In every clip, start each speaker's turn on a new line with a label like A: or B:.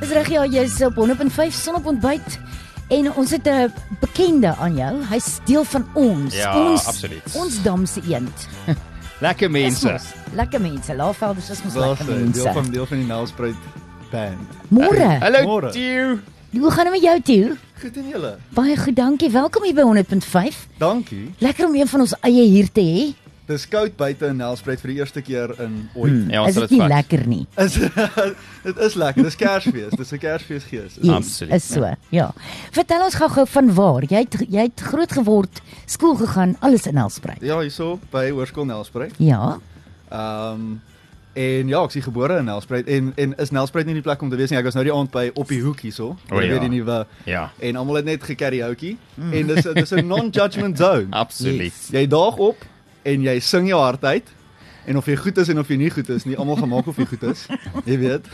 A: Dis reg ja, jy's op 100.5 son op ontbyt en ons het 'n bekende aan jou. Hy's deel van ons.
B: Ja,
A: ons
B: absoluut.
A: Ons damse eend.
B: Lekker
A: Dis
B: mense.
A: mos Lekker mense. Laafvelders is mos
C: Daar's
A: lekker
C: 'n eh, deel van
A: mense.
C: deel van die Nelspruit band.
A: Môre.
B: Hallo
C: Môre.
B: Tieu.
A: Hoe gaan dit met jou toe?
C: Goed en julle.
A: Baie goed, dankie. Welkom hier by 100.5.
C: Dankie.
A: Lekker om een van ons eie hier te hê.
C: Dis koud buite in Nelspruit vir die eerste keer in ooit.
B: Ja,
A: Is
B: ons
A: dit
B: het
A: nie
B: vat.
A: lekker nie?
C: Is dit is lekker. Dis Kersfees. Dis 'n Kersfeesgees.
A: Yes,
B: Absoluut, nee.
A: Is so, ja. Vertel ons gou-gou van waar jy het, jy het groot geword, skool gegaan, alles in Nelspruit.
C: Ja, hierso by Hoërskool Nelspruit.
A: Ja.
C: Ehm um, en ja, ek is hier gebore in Nelspruit en en is Nelspruit nie die plek om te wees nie. Ek was nou die aand by op die hoek hierso.
B: O,
C: Jy
B: ja.
C: weet die nuwe
B: Ja,
C: en almal het net gekarioutjie en dis dis 'n non-judgment zone.
B: absoluut.
C: Jy daag op en jy sing jou hart uit. En of jy goed is en of jy nie goed is nie, almal gaan maak of jy goed is. Jy weet.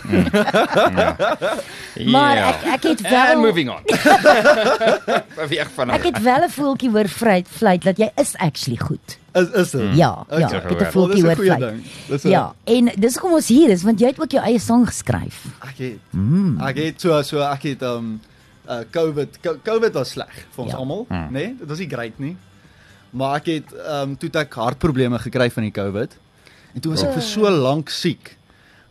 A: Maar
B: Ja.
A: ek ek het
B: And
A: wel
B: moving on. Beweeg van
A: ek het wel 'n voeltjie hoor vryt vleit dat jy is actually goed.
C: Is is dit?
A: Ja, ja,
C: Okay.
A: ek het 'n
B: Wel,
A: voeltjie hoor
C: goeie
A: vleit.
C: ding. Dis 'n
A: Ja, en dis hoekom ons hier is want jy het ook jou eie song geskryf.
C: Ek het. Ek het so so ek het um uh COVID Co- COVID was sleg vir ons
A: Ja.
C: ja. almal, né? Nee? Dit was nie great nie. Maar ek het um toe het ek hartprobleme gekry van die COVID. En toe was
A: Oh.
C: ek vir so lank siek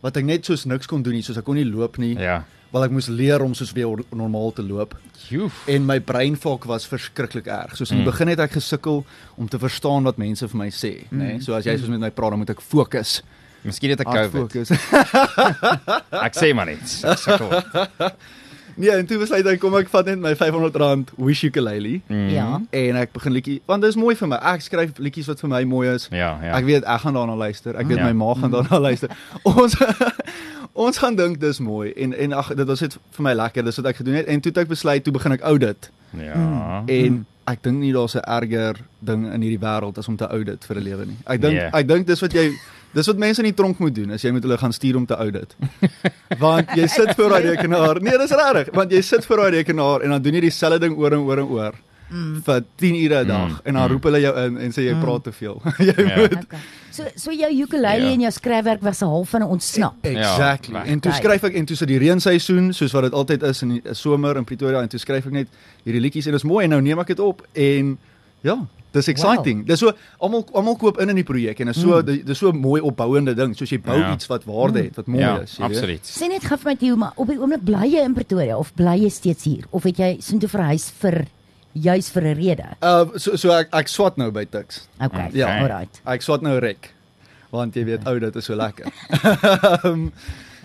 C: wat ek net soos niks kon doen nie, soos ek kon nie loop nie, ja.
B: Ja.
C: want ek moes leer om soos weer or- normaal te loop.
B: Joef.
C: en my breinfok was verskriklik erg. Soos
B: Mm.
C: in die begin het ek gesukkel om te verstaan wat mense vir my sê, nê? Nee? So as jy soos met my praat, dan moet ek fokus.
B: Miskien het Mm. ek
C: Hard
B: COVID.
C: fokus.
B: Ek sê maar net. Ek sukkel.
C: nee, en toe besluit ek kom ek vat net my R500 wish ukulele
B: Mm.
A: Ja.
C: en ek begin liedjie want dit is mooi vir my. Ek skryf liedjies wat vir my mooi is.
B: Ja, ja.
C: Ek weet ek gaan daarna luister. Ek weet
B: Ja.
C: my ma gaan daarna luister. Ons ons gaan dink dis mooi en en ag dit was net vir my lekker. Dis wat ek gedoen het en toe het ek besluit toe begin ek oudit.
A: Mm.
B: Ja.
C: En ek dink nie daar's 'n erger ding in hierdie wêreld as om te oudit vir 'n lewe nie. Ek dink
B: Nee.
C: ek dink dis wat jy dis wat mense in die tronk moet doen as jy met hulle gaan stuur om te oudit. Want jy sit voor daai rekenaar. Nee, dis regtig, want jy sit voor daai rekenaar en dan doen jy dieselfde ding oor en oor en oor vir 10 ure 'n dag en dan roep hulle jou in en sê jy praat te veel. jy
B: Mm. Ja.
C: moet
A: Okay. So so jou ukulele
B: Ja.
A: en jou skryfwerk was 'n half van 'n ontsnap.
C: Exactly.
B: Ja,
C: Ja, en toe
A: reg.
C: skryf ek en toe sit die reenseisoen soos wat dit altyd is in die somer in Pretoria en toe skryf ek net hierdie liedjies en dit is mooi en nou neem ek dit op en ja, dis exciting. Wow. Dis so almal almal koop in in die projek en is
A: Hmm.
C: so mm. dis so 'n mooi opbouende ding soos jy bou
B: Ja.
C: ja. iets wat waarde het, wat mooi
B: Ja,
C: ja, is, jy weet.
B: absoluut.
A: Sê net gou vir my toe, maar op die oomblik bly jy in Pretoria of bly jy steeds hier of het jy soontoe verhuis vir juis vir 'n rede?
C: Uh so so ek ek swat nou by Tuks.
A: Okay.
C: Ja.
A: Ja, alright.
C: Ek swat nou rek. Want jy
A: Ja.
C: weet ou dit is so lekker. um,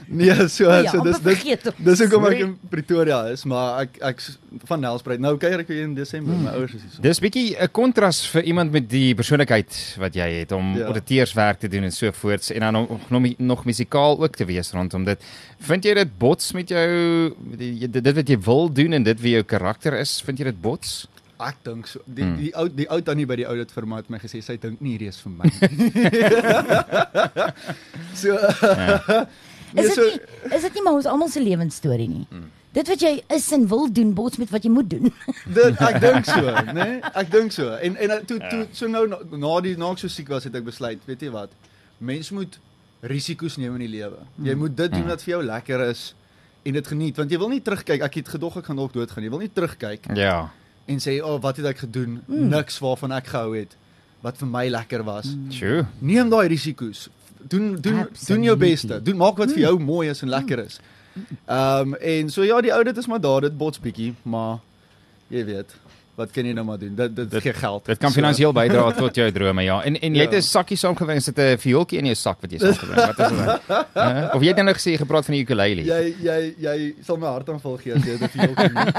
C: nee, so
A: Ja,
C: so dis
A: amper
C: dis
A: vergeet om-
C: dis hoekom ek
B: Sorry.
C: in Pretoria is, maar ek ek s- van Nelspruit. Nou kuier ek weer in Desember, my ouers is hier.
B: Dis bietjie 'n kontras vir iemand met die persoonlikheid wat jy het om ja.
C: Ja.
B: auditeurswerk te doen en so voorts en dan nog nog, nog musikaal ook te wees rondom dit. Vind jy dit bots met jou die- dit, dit wat jy wil doen en dit wie jou karakter is? Vind jy dit bots?
C: Ek dink so. Die die ou die ou tannie by die oudit firma het my gesê sy dink nie hierdie is vir my nie. so Nee,
A: Is dit
C: so-
A: nie is dit nie maar ons almal se lewensstorie nie.
B: Hmm.
A: Dit wat jy is en wil doen bots met wat jy moet doen.
C: dit ek dink so, né? Nee? Ek dink so. En en toe toe so nou na- na die na ek so siek was het ek besluit, weet jy wat? Mens moet risiko's neem in die lewe. Jy moet dit doen wat vir jou lekker is en dit geniet want jy wil nie terugkyk. Ek het gedog ek gaan dalk doodgaan. Jy wil nie terugkyk
B: Ja.
C: en sê, "O, oh, wat het ek gedoen? Niks waarvan ek gehou het wat vir my lekker was."
B: Sjoe.
C: Neem daai risiko's. Doen doen doen jou
A: Absolutely.
C: beste. Doen maak wat vir jou mooi is en lekker is. Ehm um, en so ja, die ou dit is maar daar, dit bots bietjie, maar jy weet, wat kan jy nou maar doen? Dit
B: Dit-
C: dit, dit gee geld.
B: Dit kan
C: So,
B: finansiëel bydra tot jou drome, ja. En en jy het
C: Ja.
B: 'n sakkie saamgebring, is dit 'n viooltjie in jou sak wat jy saamgebring? Wat is dit? Uh, of jy het nou nog gesê jy gepraat van die ukulele.
C: Jy jy jy sal my hartaanval gee as jy dit vir jou kan.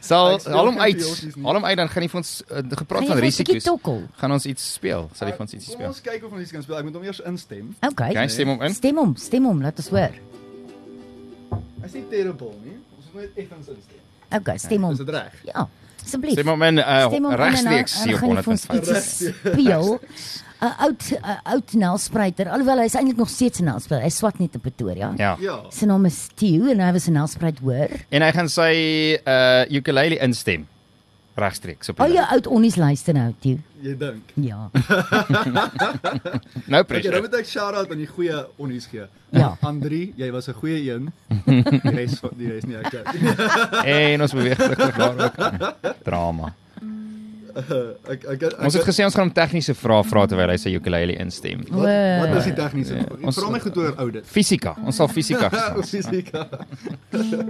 B: Sal
C: Ek speel
B: haal hom
C: geen
B: uit.
C: viooltjies nie.
B: Haal hom uit dan gaan jy vir ons uh,
A: Gaan
B: gepraat
A: jy
B: van
A: vir ons 'n bietjie
B: risiko's.
A: tokkel.
B: Gaan ons iets speel? Sal jy vir ons iets
C: Kom
B: speel?
C: ons kyk of ons iets kan speel. Ek moet hom eers instem.
B: Gaan
A: Okay.
B: jy stem hom in?
A: Stem hom, stem hom, laat ons hoor.
C: Hy's nie terrible nie. Ons moet net effens instem.
A: Okay, stem hom.
C: Is dit reg?
A: Ja, asseblief.
B: Stem hom in uh,
A: Stem hom in en
B: regstreeks
A: dan-
B: hier
A: dan
B: op
A: gaan jy vir
B: 100.5.
A: ons iets Speel 'n oud 'n oud nelspruiter. Alhoewel hy's eintlik nog steeds 'n nelspruiter. Hy swat net in Pretoria.
B: Ja.
C: Ja.
A: Sy naam is Theo en hy was 'n nelspruit hoor.
B: En hy gaan sy uh ukulele eh, instem. regstreeks op.
A: Al
B: die
A: jou oud onnies luister nou toe.
C: Jy dink.
A: Ja.
B: lyn. Nou
C: Ek nou
B: pressure.
C: moet ek shout-out aan die goeie onnies gee.
A: Ja.
C: Andri, jy was 'n goeie een. Die res van die res nie ek.
B: En ons beweeg terug na daar. Drama.
C: Eh, Ek ek ek-
B: Ons het gesê ons gaan hom tegniese vrae vra terwyl hy sy ukulele instem.
C: Wat, wat is die tegniese?
B: Ons-
C: Ek vra my goed oor oudit.
B: Fisika. Ons sal fisika gesels.
C: Fisika.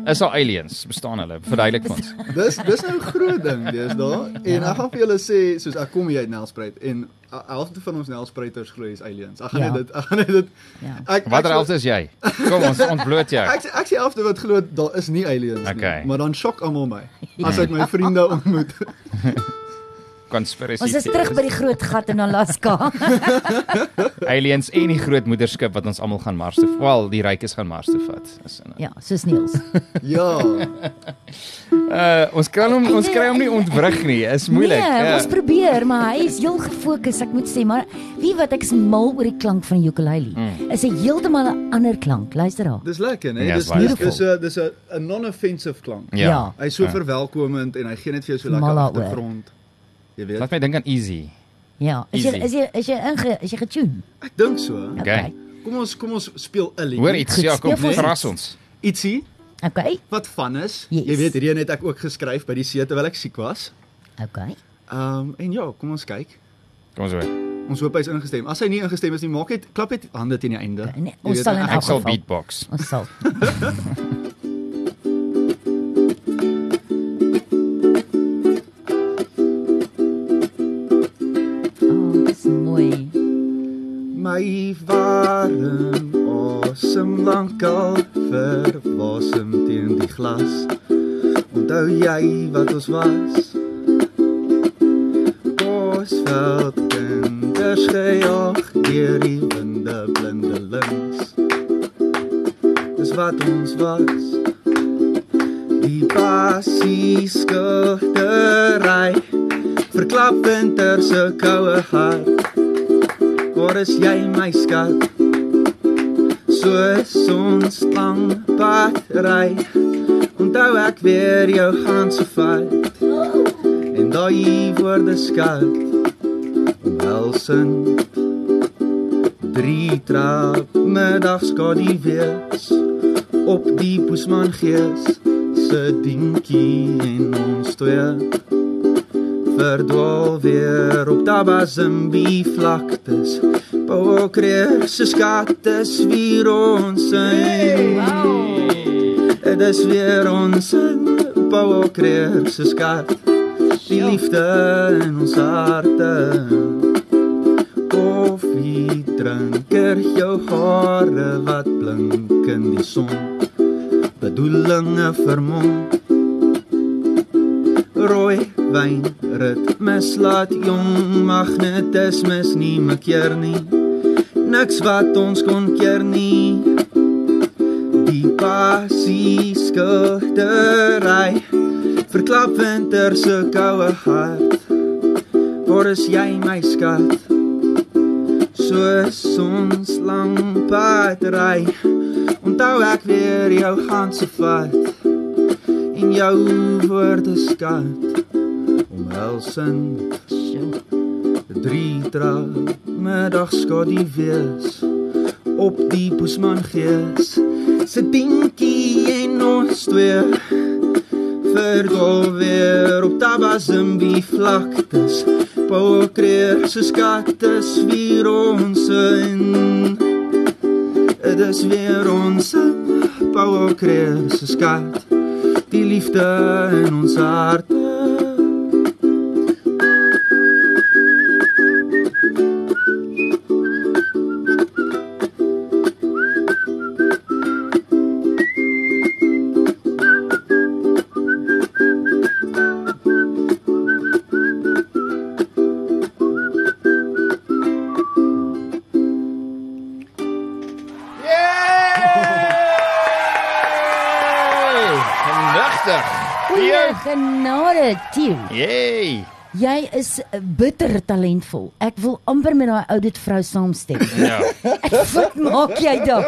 B: Is daar aliens? Bestaan hulle? Verduidelik vir ons.
C: Dis dis nou 'n groot ding deesdae
B: Ja.
C: en ek gaan vir julle sê soos ek kom hier uit Nelspruit en a- helfte van ons Nelspruiters glo is aliens. Ek gaan
A: Ja.
C: net dit ek gaan net dit
A: Ja.
C: ek
B: Watter helfte is jy? Kom ons ontbloot jou.
C: Ek ek sien helfte wat glo daar is nie aliens
B: Okay.
C: nie, maar dan skok almal my as ek my vriende ontmoet.
B: Conspiracy.
A: Ons is terug by die groot gat in Alaska.
B: aliens en die groot moederskip wat ons almal gaan Mars toe. Wel, die rykes gaan Mars toe vat. Is in.
A: Ja, soos Niels.
C: Ja.
B: Uh ons kan hom ons kry hom nie ontwrig nie. Is moeilik. Eh,
A: Nee,
B: ja.
A: ons probeer, maar hy is heel gefokus, ek moet sê, maar wie wat ek's mal oor die klank van die ukulele.
B: Mm.
A: Is 'n heeltemal 'n ander klank. Luister haar.
C: Dis lekker, né?
B: Ja,
C: Dis
B: is baie
C: nie
B: lekker.
C: dis 'n dis 'n 'n non-offensive klank.
B: Ja.
A: Ja.
C: Hy's so
B: Ja.
C: verwelkomend en hy gee net vir jou so
A: Mal
C: lekker
A: daaroor.
C: agtergrond. Jy weet.
B: Laat my dink aan Easy.
A: Ja, is jy
B: Easy.
A: is jy is jy inge is jy getune?
C: Ek dink so.
A: Ja.
B: Okay.
C: Kom ons kom ons speel 'n liedjie.
B: Hoor iets,
A: Goed,
B: ja, kom
A: speel vir
B: verras ons.
C: Ietsie
A: Okay.
C: wat van is.
A: Yes.
C: Jy weet hierdie een het ek ook geskryf by die see terwyl ek siek was.
A: Okay.
C: Ehm um, en ja, kom ons kyk.
B: Kom ons hoor.
A: Nou,
C: Ons hoop hy's ingestem. As hy nie ingestem is nie, maak net klap net hande teen die einde.
A: Okay, nee,
C: Jy
A: ons
C: weet,
A: sal in
C: ek-
B: Ek sal
A: geval.
B: beatbox.
A: Ons sal. Oh, dis mooi.
C: My warm asem lankal verwasem teen die glas. Onthou jy wat ons was? Bosveld kinders gejaag deur die winde blindelings. Dis wat ons was. Die passie skugtery verklap winter se koue hart. Waar is jy my skat? Soos ons lang pad ry Onthou ek weer jou gaan so vat En daai woorde skat Omhelsin Drie trap middags kan die wees Op die boesman gees Se dinkie en ons twee Verdwaal weer op Tabazimbi vlaktes. Bouwkreer se skatte swier ons in. Dit is weer ons in. Bouwkreer se skat. Die liefde in ons harte. Koffie drinker jou hare wat blink in die son. Bedoelinge vermom. Rooi wyn ritmes laat jong magnetismes nie mekeer nie Niks wat ons kon keer nie Die passie skildery Verklap winter se koue hart Waar is jy my skat Soos ons lang pad ry Onthou ek weer jou gaan se vat en jou woorde skat omhelsin
A: Sjoe.
C: drie trap middag skad die wees op die boesman gees se dinkie en ons twee verdwaal weer op Tabazimbi vlaktes Pauwkreer se skatte swier ons in Dit is weer ons in Pauwkreer se skat die liefde in ons harte
B: Yay! Genigtig.
A: Goeie genade, Tieu.
B: Yay!
A: Jy is bitter talentvol. Ek wil amper met daai oudit vrou saamstem.
B: Ja.
A: Ek wat maak jy daar?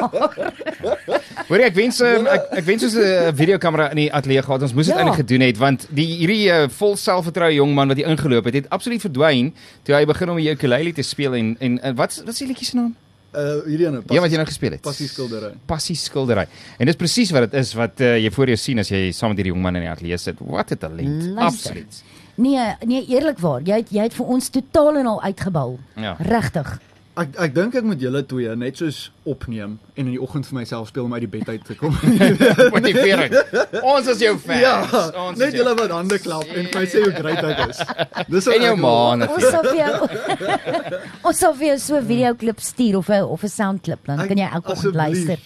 B: Hoor jy, ek wens um, ek, ek wens ons 'n videokamera in die ateljee gehad. Ons moes dit
A: Ja.
B: eintlik gedoen het want die hierdie uh, vol selfvertroue jong man wat hier ingeloop het, het absoluut verdwyn toe hy begin om die ukulele te speel en en en wat wat is die liedjie se naam?
C: Uh hierdie een
B: Ja, wat jy nou gespeel het.
C: passie skildery.
B: Passie skildery. En dis presies wat dit is wat uh, jy voor jou sien as jy saam met hierdie jong man in die ateljee sit. Wat 'n talent.
A: Luister.
B: Absoluut.
A: Nee, nee eerlikwaar, jy het, jy het vir ons totaal en al uitgebou.
B: Ja.
A: Regtig.
C: Ek ek dink ek moet julle twee net soos opneem en in die oggend vir myself speel om uit die bed uit te kom.
B: Motivering. Ons is jou fans.
C: ja,
B: ons
C: net
B: is jou
C: julle wat hande klap en vir my sê hoe great ek is. Dis wat
B: en jou
C: ek wil.
B: ma
A: Ons
B: natuurlik.
A: sal vir jou Ons sal vir jou so 'n videoklip stuur of 'n of 'n soundklip, dan
C: Ek-
A: kan jy elke oggend
C: asseblief.
A: luister.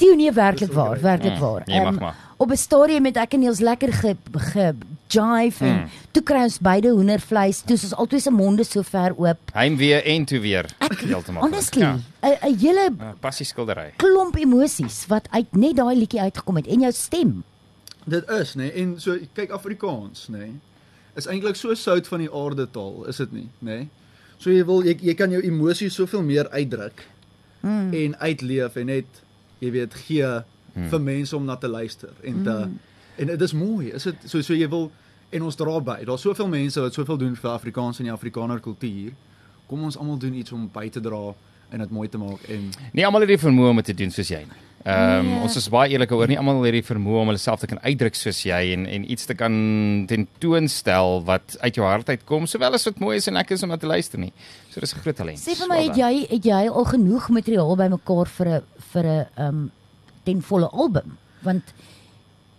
A: Dit nee werklik
C: Dis
A: waar,
C: oké.
A: werklik
B: Mm,
A: waar.
B: jy mag
A: Ehm,
B: maar.
A: op 'n stadium met ek en Niels lekker ge, ge jive en
B: Hmm.
A: toe kry ons beide hoendervleis, toe is ons albei se monde so ver oop.
B: Heimwee en toe weer. Heeltemal.
A: Honestly, 'n 'n hele
B: Ja. Passie skildery.
A: klomp emosies wat uit net daai liedjie uitgekom het en jou stem.
C: Dit is, nê. Nee, en so kyk Afrikaans, nê. Nee, is eintlik so sout van die aarde taal, is dit nie, nê? Nee? So jy wil jy, jy kan jou emosies soveel meer uitdruk mm. en uitleef en net jy weet gee mm. vir mense om na te luister en te mm. en dit is mooi. Is dit so so jy wil en ons dra by. Daar's soveel mense wat soveel doen vir Afrikaans en die Afrikaner kultuur. Kom ons almal doen iets om by te dra en dit mooi te maak en
B: Nie almal het die vermoë om dit te doen soos jy nie. Ehm um,
A: Nee.
B: ons is baie eerlik oor nie almal het die vermoë om hulle self te kan uitdruk soos jy en en iets te kan tentoonstel wat uit jou hart uitkom sowel as wat mooi is en lekker is om na te luister nie. So dis 'n groot talent.
A: Sê vir my, het jy het jy al genoeg materiaal bymekaar vir 'n vir 'n ehm um, ten volle album? Want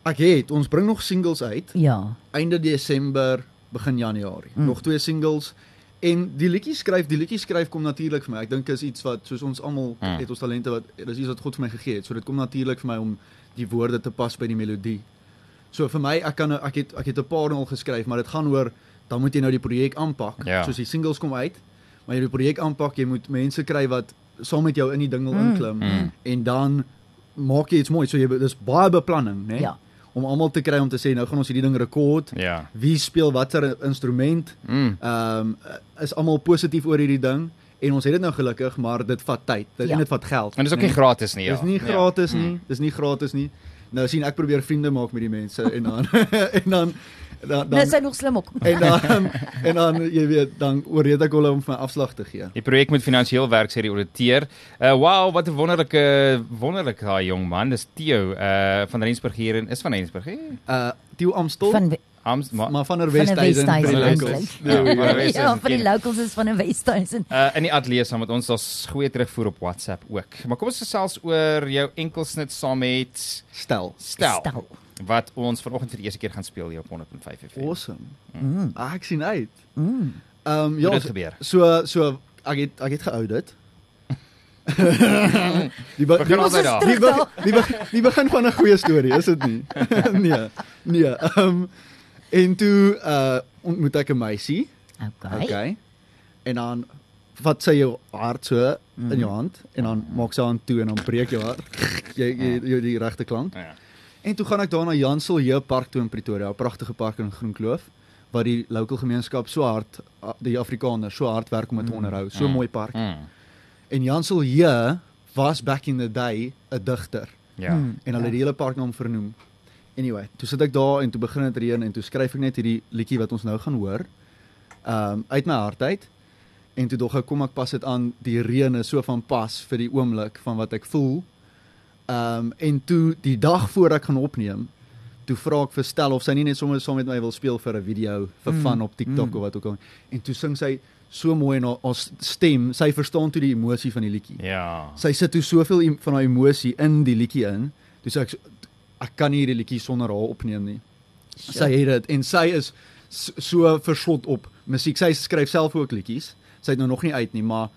C: ek het ons bring nog singles uit.
A: ja,
C: einde Desember, begin Januarie. Mm. Nog twee singles en die liedjie skryf, die liedjie skryf kom natuurlik vir my. Ek dink is iets wat soos ons almal
B: Mm.
C: mm. het ons talente wat dis iets wat God vir my gegee het. So dit kom natuurlik vir my om die woorde te pas by die melodie. So vir my ek kan ek het ek het 'n paar al geskryf, maar dit gaan oor dan moet jy nou die projek aanpak.
B: Ja.
C: Soos die singles kom uit, maar jy moet die projek aanpak, jy moet mense kry wat saam met jou in die ding wil inklim
B: Mm.
C: en dan maak jy iets mooi. So jy dis baie beplanning, né?
A: Ja.
C: Om almal te kry om te sê nou gaan ons hierdie ding rekord
B: Ja.
C: wie speel watter instrument.
B: Mm.
C: Ehm um, is almal positief oor hierdie ding en ons het dit nou gelukkig, maar dit vat tyd.
A: Ja.
C: Dit ja. en dit vat geld.
B: En dis ook nie gratis nie. Ja. Mm.
C: Dis nie gratis nie. Dis nie gratis nie. Nou sien ek probeer vriende maak met die mense en dan en dan dan,
A: dan, dis
C: dan
A: Nou hy nog slim ook.
C: en dan en dan jy weet dan oorreed ek hulle om vir my afslag te gee.
B: Die projek moet finansiëel werk sê die ouditeur. Uh wow, wat 'n wonderlike wonderlike daai jong man. Dis Theo uh van Rensburg hier en is van Rensburg. hè?
C: Uh Tieu Amstel
A: Van
B: Ams maar
C: maar van der
A: van 'n
C: Westhuizen
A: Westhuizen
C: vir die
B: eintlik.
C: locals.
B: Ja,
C: There we go.
B: maar Wes is
A: ja,
B: een
A: van die
B: ken-
A: locals is van 'n Westhuizen.
B: Uh in die ateljee saam met ons daar's goeie terugvoer op WhatsApp ook. Maar kom ons gesels oor jou enkelsnit saam met
C: Stel.
B: Stel,
A: Stel.
B: wat ons vanoggend vir die eerste keer gaan speel hier op 100.5 FM.
C: Awesome.
A: Mm.
C: Ah, ek sien uit.
A: Mm.
C: Ehm um,
B: Hoe
C: ja,
B: dit gebeur.
C: So so ek het ek het geoudit. die be,
B: Begin altyd daar.
C: Die, be, die, be, die begin van 'n goeie storie, is dit nie? nee. Nee. Ehm um, en toe uh ontmoet ek 'n meisie,
A: Okay. okay.
C: okay? En dan vat sy jou hart so in
B: Mm.
C: jou hand en dan
B: Ah.
C: maak sy aan toe en dan breek jou hart. jy jy, jy die regte klank.
B: Ja.
C: En toe gaan ek daar na Jansel Jeugpark toe in Pretoria, 'n pragtige park in Groenkloof waar die lokale gemeenskap so hard a- die Afrikaners so hard werk om dit te onderhou. So 'n mooi park.
B: Mm.
C: En Jansel J was back in the day 'n digter
B: Ja.
A: Mm.
C: en hulle het die hele park na hom vernoem. Anyway, toe sit ek daar en toe begin dit reën en toe skryf ek net hierdie liedjie wat ons nou gaan hoor. Ehm um, uit my hart uit. En toe dog ek kom ek pas dit aan die reën is so van pas vir die oomblik van wat ek voel. Ehm um, en toe die dag voor ek gaan opneem, toe vra ek vir Stel of sy nie net sommer saam met my wil speel vir 'n video vir mm. fun op TikTok mm. of wat ook al. En toe sing sy so mooi en haar, haar stem, sy verstaan toe die emosie van die liedjie
B: Ja.
C: sy sit toe soveel em- van haar emosie in die liedjie in. Toe sê ek so, ek kan nie hierdie liedjie sonder haar opneem nie. Sy het dit en sy is s- so verslot op musiek. Sy skryf self ook liedjies. Sy het nou nog nie uit nie, maar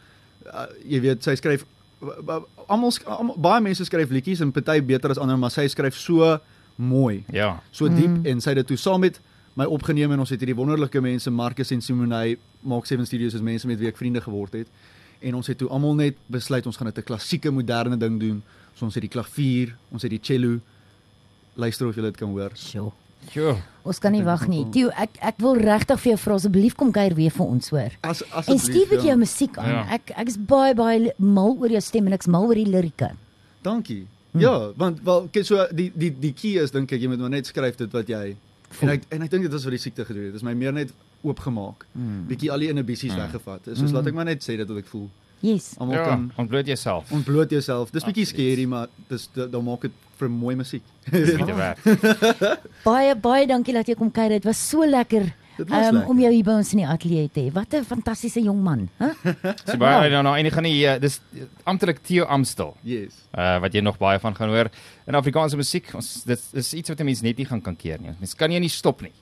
C: uh, jy weet sy skryf b- b- almal sk- almal- baie mense skryf liedjies en party beter as ander, maar sy skryf so mooi,
B: Ja.
C: so diep mm. en sy het dit toe saam met my opgeneem en ons het hierdie wonderlike mense Marcus en Simonay maak Seven Studios as mense met wie ek vriende geword het. En ons het toe almal net besluit ons gaan dit 'n klassieke moderne ding doen. So ons het die klavier, ons het die cello. Luister of jy dit kan hoor.
A: Sjoe.
B: Jo.
A: Ons kan nie
C: Ek dink
A: wag nie.
C: ook al.
A: Tieu, ek ek wil regtig vir jou vra asseblief kom kuier weer vir ons hoor.
C: As as
A: En stuur bietjie jou musiek aan.
B: Ja.
A: Ek ek is baie baie li- mal oor jou stem en ek's mal oor die lirieke.
C: Dankie. Ja, want wel kyk so die die die key is dink ek jy moet maar net skryf dit wat jy en ek en ek dink dit was wat die siekte gedoen het. Dit is my meer net oopgemaak.
A: Mm.
C: Bietjie al die inhibisies weggevat. Soos
A: Mm.
C: laat ek maar net sê dit wat ek voel.
A: Yes.
C: Almal
B: Ja,
C: kan
B: ontbloot jouself.
C: ontbloot jouself. Dis bietjie
B: Absoluut.
C: skerry, maar dis da- dan maak dit vir mooi musiek.
B: Dis nie te werk.
A: Baie baie dankie dat jy kom kuier. Dit was so lekker.
C: Dit was
A: ehm,
C: lekker.
A: om jou hier by ons in die ateljee te hê. Wat 'n fantastiese jong man, hè?
B: So baie nou nou enige nie eh, dis eh, amptelik Theo Amstel.
C: Yes.
B: Uh, wat jy nog baie van gaan hoor in Afrikaanse musiek. Ons dit is iets wat 'n mens net nie gaan kan keer nie. Mens kan jy nie stop nie.